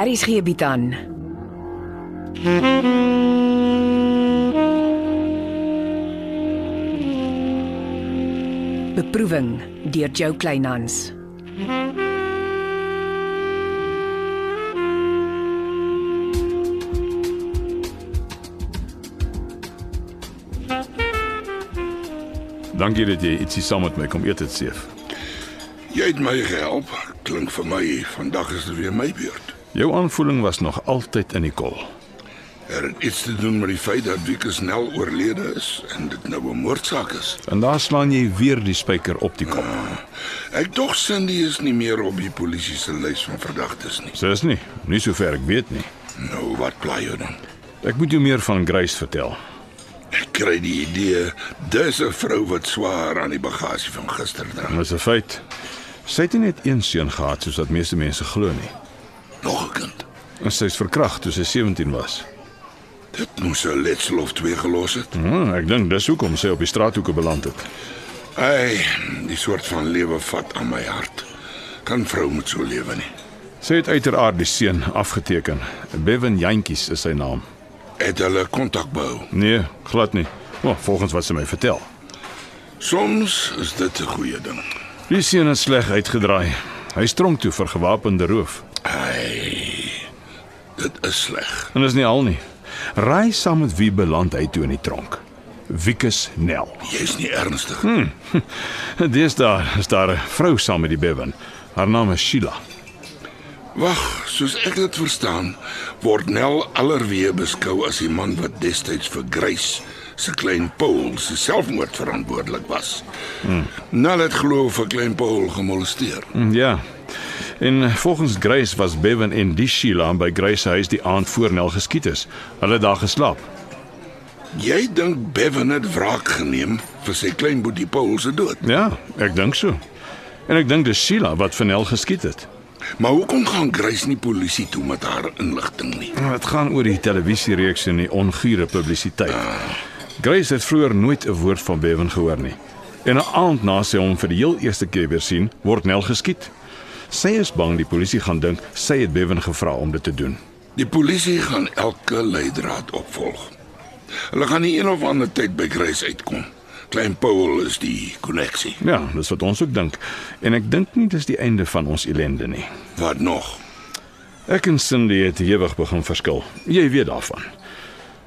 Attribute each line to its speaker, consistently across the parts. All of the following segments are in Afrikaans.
Speaker 1: Aries gee bied aan. Beproeving deur Jo Kleinhans.
Speaker 2: Dankie dat jy ietsie saam met my kom eet het, Seef.
Speaker 3: Jy het my gehelp. Klink vir my vandag is dit weer my beurt.
Speaker 2: Jou aanvoeling was nog altyd in die kol.
Speaker 3: Er het iets te doen met die feit dat Wieke snel oorlede is en dit nou 'n moordsaak is.
Speaker 2: En daar slaan jy weer die spyker op die kop.
Speaker 3: Ek dog Cindy is nie meer op die polisie se lys van verdagtes nie.
Speaker 2: Sis nie, nie so ver ek weet nie.
Speaker 3: Nou wat pla jy dan?
Speaker 2: Ek moet jou meer van Grace vertel.
Speaker 3: Ek kry die idee dis 'n vrou wat swaar aan die bagasie van gister dra.
Speaker 2: En dis 'n feit. Sy het nie net een seun gehad soos wat meeste mense glo nie.
Speaker 3: Nog 'n kind.
Speaker 2: En sy is verkragt toe sy 17 was.
Speaker 3: Dit moes 'n letsel of twee gelos het.
Speaker 2: Hmm, ek dink dis hoekom sy op die straathoeke beland het.
Speaker 3: Ai, die soort van lewe vat aan my hart. Kan vrou moet so lewe nie.
Speaker 2: Sy het uiteraard die seun afgeteken. Bevan Jantjies is sy naam.
Speaker 3: Het hulle kontak behou.
Speaker 2: Nee, glad nie. Maar volgens wat sy my vertel.
Speaker 3: Soms is dit 'n goeie ding.
Speaker 2: Die seun is sleg uitgedraai. Hy stronk toe vir gewapende roof.
Speaker 3: Ai. Dit is sleg.
Speaker 2: En dis nie al nie. Raai saam met wie beland hy toe in die tronk? Wikus Nel.
Speaker 3: Jy's nie ernstig.
Speaker 2: Dis daar, is daar 'n vrou saam met die Bevan. Haar naam is Sheila.
Speaker 3: Wag, soos ek dit verstaan, word Nel allerweë beskou as die man wat destyds vir Grace se klein Paul se selfmoord verantwoordelik was. Hmm. Nel het glo vir klein Paul gemolesteer.
Speaker 2: Hm, Ja. En volgens Grace was Bevan en die Sheila by Grace se huis die aand voor Nel geskiet is. Hulle het daar geslaap.
Speaker 3: Jy dink Bevan het wraak geneem vir sy klein boetie Paul se dood.
Speaker 2: Ja, ek dink so. En ek dink dis Sheila wat van Nel geskiet het.
Speaker 3: Maar hoekom gaan Grace nie polisie toe met haar inligting nie?
Speaker 2: Dit Nou, gaan oor die televisiereeks en die ongure publisiteit. Grace het vroeër nooit 'n woord van Bevan gehoor nie. En 'n aand na sy hom vir die heel eerste keer weer sien, word Nel geskiet. Sy is bang die polisie gaan dink sy het Bevan gevra om dit te doen.
Speaker 3: Die polisie gaan elke leidraad opvolg. Hulle gaan nie een of ander tyd by Grace uitkom. Klein Paul is die koneksie.
Speaker 2: Ja, dis wat ons ook dink. En ek dink nie dis die einde van ons ellende nie.
Speaker 3: Wat nog?
Speaker 2: Ek en Cindy het ewig begin verskil. Jy weet daarvan.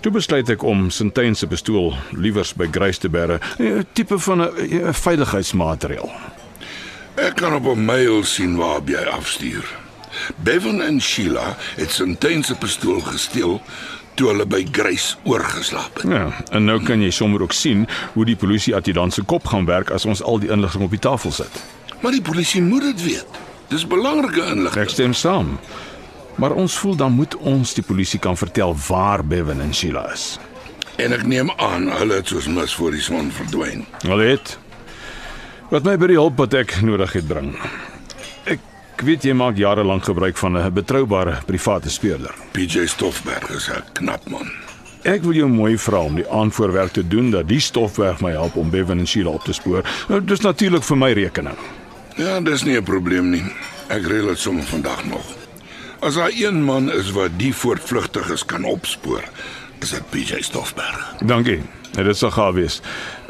Speaker 2: Toe besluit ek om Sintyn se pistool liewers by Grace te bære, 'n tipe van 'n 'n veiligheidsmaatreël.
Speaker 3: Ek kan op 'n mail sien waarop jy afstuur. Bevan en Sheila het Sintyn se pistool gesteel toe hulle by Grace oorgeslaap het.
Speaker 2: Ja, en nou kan jy sommer ook sien hoe die polisie adjutant se kop gaan werk as ons al die inligting op die tafel sit.
Speaker 3: Maar die polisie moet dit weet. Dis belangrike
Speaker 2: Ek
Speaker 3: inligting.
Speaker 2: stem saam. Maar ons voel dan moet ons die polisie kan vertel waar Bevan en Sheila is.
Speaker 3: En ek neem aan hulle het soos mis voor die son verdwyn.
Speaker 2: Hulle het wat my by die hulp wat ek nodig het bring. Ek weet jy maak jare lank gebruik van 'n betroubare private speurder.
Speaker 3: PJ Stoffberg is 'n knap man.
Speaker 2: Ek wil jou mooi vra om die aanvoorwerk te doen dat die stofweg my help om Bevan en Sheila op te spoor. Nou, Dis natuurlik vir my rekening.
Speaker 3: Ja, dis nie 'n probleem nie. Ek reël dit sommer vandag nog. As daar een man is wat die voortvlugtiges kan opspoor, is dit PJ Stoffberg.
Speaker 2: Dankie. Ja, Dit sal gaaf wees.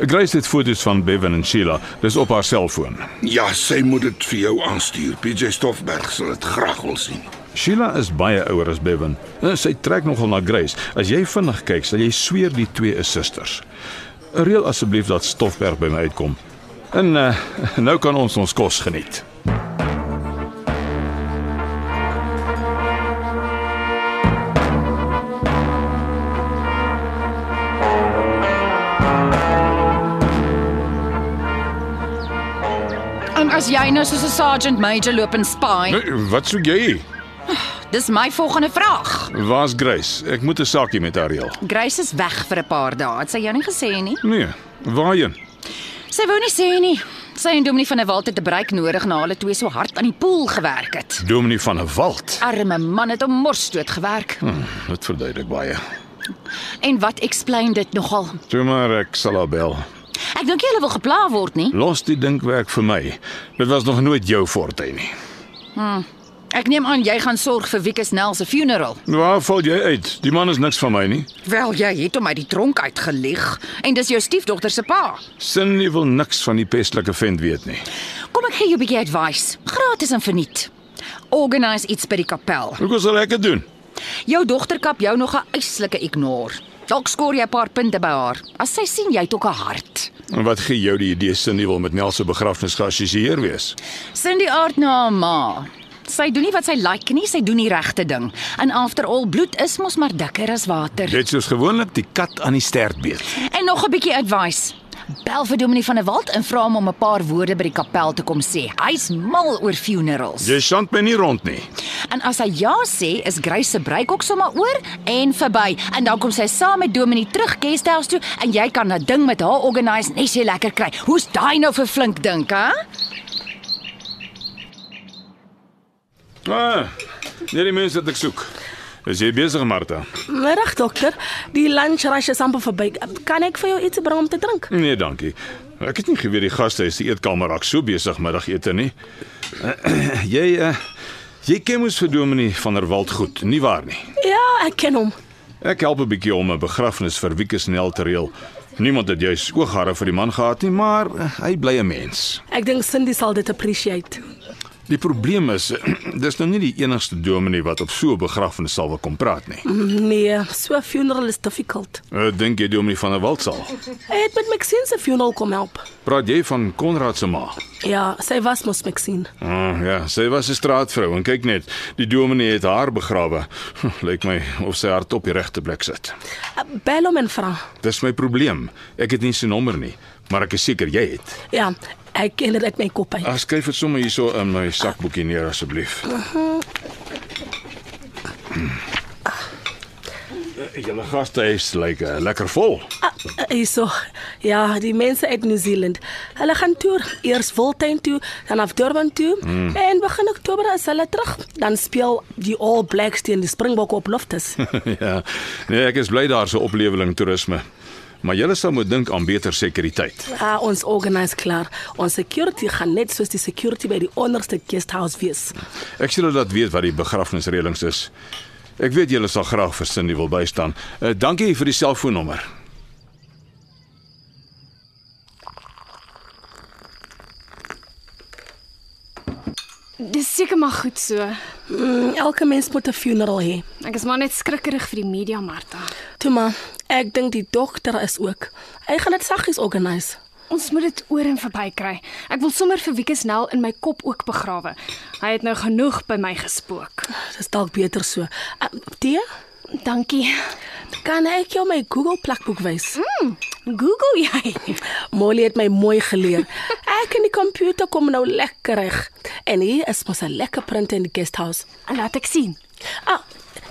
Speaker 2: Grace het foto's van Bevan en Sheila, dis op haar selfoon.
Speaker 3: Ja, sy moet dit vir jou aanstuur. PJ Stoffberg sal dit graag wil sien.
Speaker 2: Sheila is baie ouer as Bevan. En Sy trek nogal na Grace. As jy vinnig kyk, sal jy sweer die twee is susters. Reël asseblief dat Stoffberg by my uitkom. En uh, nou kan ons ons kos geniet.
Speaker 4: En as jy nou soos 'n sergeant major loop en spy,
Speaker 2: Wat soek jy?
Speaker 4: dis my volgende vraag.
Speaker 2: Waar's Grace? Ek moet 'n saakie met haar reël.
Speaker 4: Grace is weg vir 'n paar dae. Het sy jou nie gesê nie?
Speaker 2: Nee, waarheen?
Speaker 4: Sy wou nie sê nie. Sy en Dominie van der Walt het 'n breek nodig na hulle twee so hard aan die poel gewerk het.
Speaker 2: Dominee van 'n wald.
Speaker 4: Arme man het om morsdood gewerk.
Speaker 2: Dit verduidelik baie.
Speaker 4: En wat explain dit nogal?
Speaker 2: Toe maar ek sal haar bel.
Speaker 4: Ek dink jy hulle wil gepla word nie.
Speaker 2: Los die dinkwerk vir my. Dit was nog nooit jou forte nie.
Speaker 4: Ek neem aan jy gaan sorg vir Wieke Snell se funeral.
Speaker 2: Waar val jy uit? Die man is niks van my nie.
Speaker 4: Wel, jy het hom uit die tronk uitgelieg en dis jou stiefdogter se pa.
Speaker 2: Cindy wil niks van die pestlike vent weet nie.
Speaker 4: Kom ek gee jou 'n bietjie advice, gratis en verniet. Organise iets by die kapel.
Speaker 2: Hoekom sal ek dit doen?
Speaker 4: Jou dogter kap jou nog 'n yslike ignoor. Dalk skoor jy 'n paar punte by haar. As sy sien jy het ook 'n hart.
Speaker 2: En wat gee jou die idee Cindy wil met Nel se begrafnis geassosieer wees?
Speaker 4: Cindy aard na haar ma. Sy doen nie wat sy like nie, sy doen die regte ding. En after all, bloed is mos maar dikker as water.
Speaker 2: Dit soos gewoonlik die kat aan die stert beet.
Speaker 4: En nog 'n bietjie advice. Bel vir Dominee van der Walt en vra hom om 'n paar woorde by die kapel te kom sê. Hy's mal oor funerals.
Speaker 2: Jy skand my nie rond nie.
Speaker 4: En as hy ja sê, is Grace se breuk ook sommer oor en verby. En dan kom sy saam met Dominee terug Guesthouse toe en jy kan 'n ding met haar organise net sy lekker kry. Hoe's daai nou vir flink dink, hè?
Speaker 2: Ah, net die mense wat ek soek. Is jy besig, Martha?
Speaker 5: Middag dokter, die lunch rush is amper verby. Kan ek vir jou iets bring om te drink?
Speaker 2: Nee, dankie. Ek het nie geweet die gastehuis se eetkamer raak so besig middagete nie. jy uh, jy ken mos vir Dominee van der Walt goed, nie waar nie?
Speaker 5: Ja, ek ken hom.
Speaker 2: Ek help 'n bietjie om 'n begrafnis vir Wieke Snell te reël. Niemand het juis oogharre vir die man gehad nie, maar eh, hy bly 'n mens.
Speaker 5: Ek dink Cindy sal dit appreciate.
Speaker 2: Die probleem is dis nou nie die enigste dominee wat op so 'n begrafnis sal wil kom praat nie.
Speaker 5: Nee, so 'n funeral is difficult.
Speaker 2: Ek dink jy dominee van der Walt sal.
Speaker 5: Hy het met Maxine se funeral kom help.
Speaker 2: Praat jy van Konrad se ma?
Speaker 5: Ja, sy was mos Maxine.
Speaker 2: Ah, ja, sy was 'n straatvrou en kyk net, die dominee het haar begrawe. Hm, Lyk my of sy hart op die regte plek sit.
Speaker 5: Uh, Bel hom en vra.
Speaker 2: Dis my probleem. Ek het nie sy nommer nie, maar ek is seker jy het.
Speaker 5: Ja, ek ken dit uit my kop uit.
Speaker 2: Ag, skryf dit sommer hierso in my sakboekie neer asseblief. Hm. Julle gastehuis lyk like, uh, lekker vol.
Speaker 5: Ah, Hyso. Ja, die mense uit New Zealand. Hulle gaan toer, eers Wildtuin toe, dan af Durban toe mm. en begin Oktober as hulle terug, dan speel die All Blacks teen die Springbokke op Loftus.
Speaker 2: ja. Nee, ek is bly daar se oplewing toerisme. Maar julle sal moet dink aan beter sekuriteit.
Speaker 5: Ah, ons organise klaar. Ons security gaan net soos die security by die onderste guesthouse wees.
Speaker 2: Ek sê julle laat weet wat die begrafnisreëlings is. Ek weet julle sal graag vir Cindy wil bystaan. Uh, dankie vir die selfoonnommer.
Speaker 6: Dis seker maar goed so.
Speaker 5: Mm, elke mens moet 'n funeral hê.
Speaker 6: Ek is maar net skrikkerig vir die media, Martha.
Speaker 5: Toe maar, ek dink die dokter is ook. Hy gaan dit saggies organise.
Speaker 6: Ons moet dit oor en verby kry. Ek wil sommer vir Wieke Snell in my kop ook begrawe. Hy het nou genoeg by my gespook.
Speaker 5: Dis Ah, dalk beter so. Uh, Tee,
Speaker 6: Dankie.
Speaker 5: kan ek jou my Google plakboek wys? Mm?
Speaker 6: Google jy?
Speaker 5: Molly het my mooi geleer. ek en die komputer kom nou lekker reg. En hier is mos 'n lekker print in die guesthouse.
Speaker 6: Laat ek sien.
Speaker 5: Ah,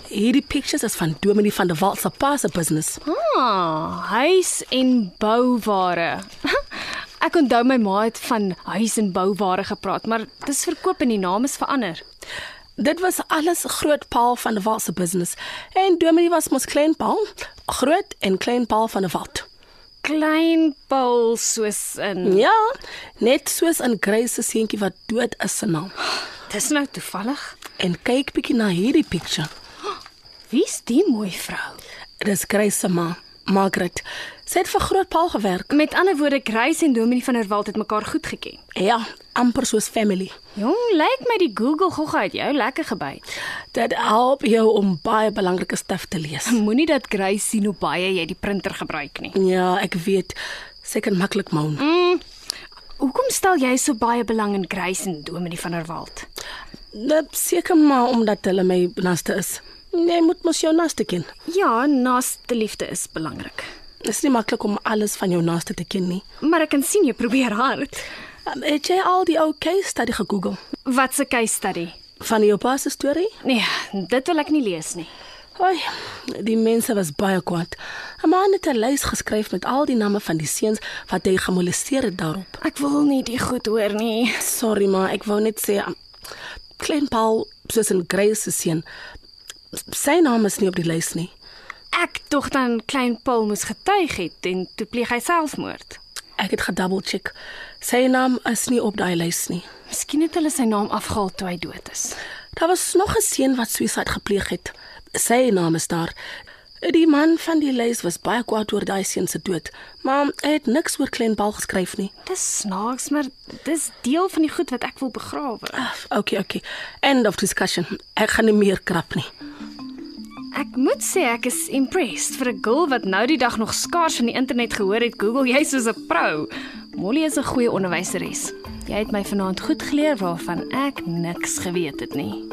Speaker 5: hierdie pictures is van Dominie van der Walt se pa se business.
Speaker 6: Ah, huis en bouware. Ek onthou my ma het van huis en bouware gepraat, maar dis verkoop en die naam is verander.
Speaker 5: Dit was alles groot Paul van der Walt se business. En Dominee was mos klein Paul, groot en klein Paul van der Walt.
Speaker 6: Klein Paul soos in
Speaker 5: Ja, net soos in Grace se seentjie wat dood is se naam.
Speaker 6: Dis nou toevallig.
Speaker 5: En kyk bietjie na hierdie picture.
Speaker 6: Wie's die mooi vrou?
Speaker 5: Dis Grace se ma, Margaret. Sy het vir groot Paul gewerk.
Speaker 6: Met ander woorde, Grace en Dominie van der Walt het mekaar goed geken.
Speaker 5: Ja, amper soos family.
Speaker 6: Jong, lyk my die Google gogga het jou lekker gebyt.
Speaker 5: Dit help jou om baie belangrike stof te lees.
Speaker 6: Moenie dat Grace sien hoe baie jy die printer gebruik nie.
Speaker 5: Ja, ek weet. Seker maklik moun.
Speaker 6: Hoekom stel jy so baie belang in Grace en Dominie van der Walt?
Speaker 5: Dit seker maar omdat hulle my naaste is. Nee, moet mos jou naaste ken.
Speaker 6: Ja, naaste liefde is belangrik.
Speaker 5: Dit is nie maklik om alles van jou naaste te ken nie.
Speaker 6: Maar ek kan sien jy probeer hard.
Speaker 5: Um, het jy al die ou case study gegoogel
Speaker 6: Wat 'n case study.
Speaker 5: van jou pa se storie?
Speaker 6: Nee, dit wil ek nie lees nie.
Speaker 5: Oei, die mense was baie kwaad. 'n Man het 'n lys geskryf met al die name van die seuns wat hy gemolesteer het daarop.
Speaker 6: Ek wil nie die goed hoor nie.
Speaker 5: Sorry maar, ek wou net sê um, Klein Paul soos 'n Grace se seun. s- Sy naam is nie op die lys nie.
Speaker 6: Ek dog dan klein Paul moes getuig het en toe pleeg hy selfmoord.
Speaker 5: Ek het gedouble check. Sy naam is nie op daai lys nie.
Speaker 6: Miskien het hulle sy naam afgehaal toe hy dood is.
Speaker 5: Daar was nog 'n seun wat suicide gepleeg het. Sy naam is daar. Die man van die lys was baie kwaad oor daai seun se dood, maar hy het niks oor Klenbal geskryf nie.
Speaker 6: Dis snaaks, maar dis deel van die goed wat ek wil begrawe.
Speaker 5: Okay, okay. End of discussion. Ek gaan nie meer krap nie.
Speaker 6: Ek moet sê ek is impressed vir 'n girl wat nou die dag nog skaars van die internet gehoor het. Google jy soos 'n pro. Molly is 'n goeie onderwyseres. Jy het my vanaand goed geleer waarvan ek niks geweet het nie.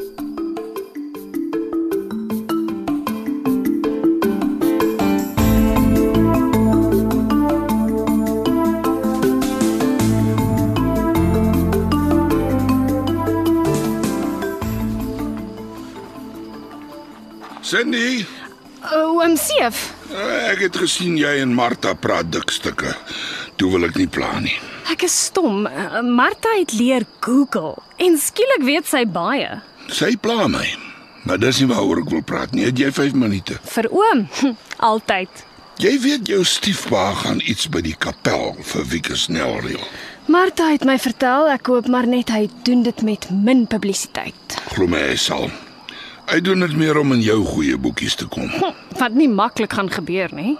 Speaker 3: Cindy, eh,
Speaker 6: O, oom Seef,
Speaker 3: ek het gesien jy en Martha praat dik stukke. Toe wil ek nie pla nie.
Speaker 6: ek is stom. Eh, Martha het leer Google en skielik weet sy baie.
Speaker 3: Sy pla my. Maar dis nie waaroor ek wil praat nie. Het jy 5 minute?
Speaker 6: Vir oom, altyd.
Speaker 3: Jy weet jou stiefpa gaan iets by die kapel vir Wieke Snell reël.
Speaker 6: Martha het my vertel ek hoop maar net hy doen dit met min publisiteit.
Speaker 3: Glo my hy sal. Hy doen dit meer om in jou goeie boekies te kom.
Speaker 6: Wat nie maklik gaan gebeur nie.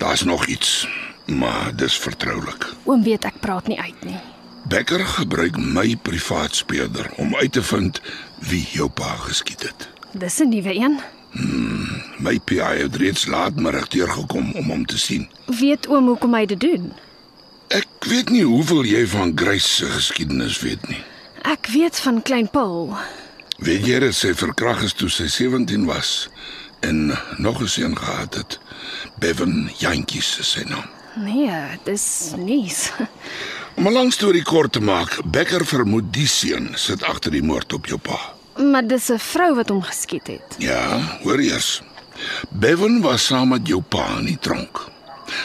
Speaker 3: Daar's nog iets, maar dis vertroulik.
Speaker 6: Oom weet ek praat nie uit nie.
Speaker 3: Becker gebruik my privaat speurder om uit te vind wie jou pa geskiet het.
Speaker 6: Dis 'n nuwe een.
Speaker 3: My PI het reeds laatmiddag deurgekom om hom te sien.
Speaker 6: Weet oom hoekom hy dit doen?
Speaker 3: Ek weet nie hoeveel jy van Grace se geskiedenis weet nie.
Speaker 6: Ek weet van klein Paul.
Speaker 3: Weet jy dat sy verkrag is toe sy 17 was en nog 'n seun gehad het? Bevan Jantjies is sy naam.
Speaker 6: Nee, dis nuus.
Speaker 3: Om 'n lang storie kort te maak, Becker vermoed die seun sit agter die moord op jou pa.
Speaker 6: Maar dis 'n vrou wat hom geskiet het.
Speaker 3: Ja, hoor eers. Bevan was saam met jou pa in die tronk.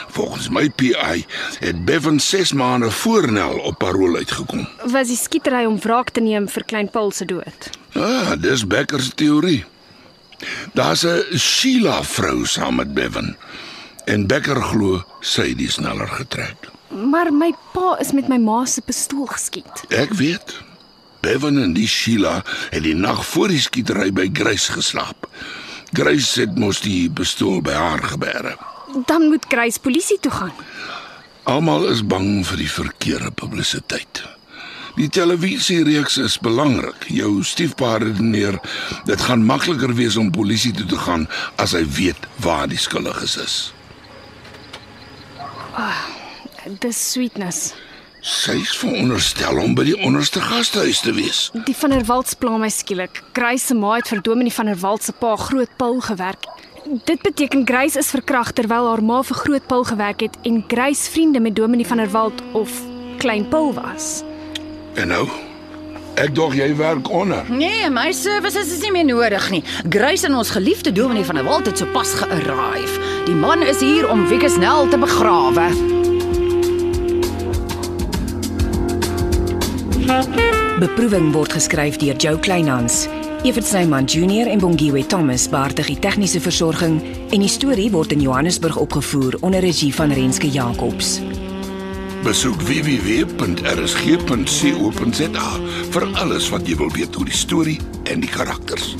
Speaker 3: Volgens my PI het Bevan 6 maande voor Nel op parol uitgekom.
Speaker 6: Was die skietery om wraak te neem vir klein Paul se dood?
Speaker 3: Ah, dis Becker se teorie. Daar's 'n Sheila vrou saam met Bevan en Becker glo sy het die sneller getrek.
Speaker 6: Maar my pa is met my ma se pistool geskiet.
Speaker 3: Ek weet. Bevan en die Sheila het die nag voor die skietery by Grace geslaap. Grace het mos die pistool by haar geberg.
Speaker 6: Dan moet Grace polisie toe gaan.
Speaker 3: Almal is bang vir die verkeerde publisiteit. Die televisiereeks is belangrik. Jou stiefpa redeneer, dit gaan makliker wees om polisie toe te gaan as hy weet waar die skuldiges is.
Speaker 6: Dis sweetness.
Speaker 3: Sy's veronderstel om by die onderste gastehuis te wees.
Speaker 6: Die van der Walt pla my skielik. Grace se ma het vir Dominie van der Walt se pa Groot Paul gewerk. Dit beteken Grace is verkragt terwyl haar ma vir Groot Paul gewerk het en Grace vriende met Dominie van der Walt of Klein Paul was.
Speaker 3: En nou, ek dog jy werk onder.
Speaker 4: Nee, my services is nie meer nodig nie. Grace en ons geliefde Dominee van der Walt het sopas gearrive. Die man is hier om Wieke Snell te begrawe.
Speaker 1: Beproeving word geskryf deur Jo Kleinhans. Evert Snyman Junior en Bongwe Thomas baartig die tegniese versorging en die storie word in Johannesburg opgevoer onder regie van Renske Jacobs.
Speaker 3: Besoek www.rsg.co.za vir alles wat jy wil weet oor die storie en die karakters.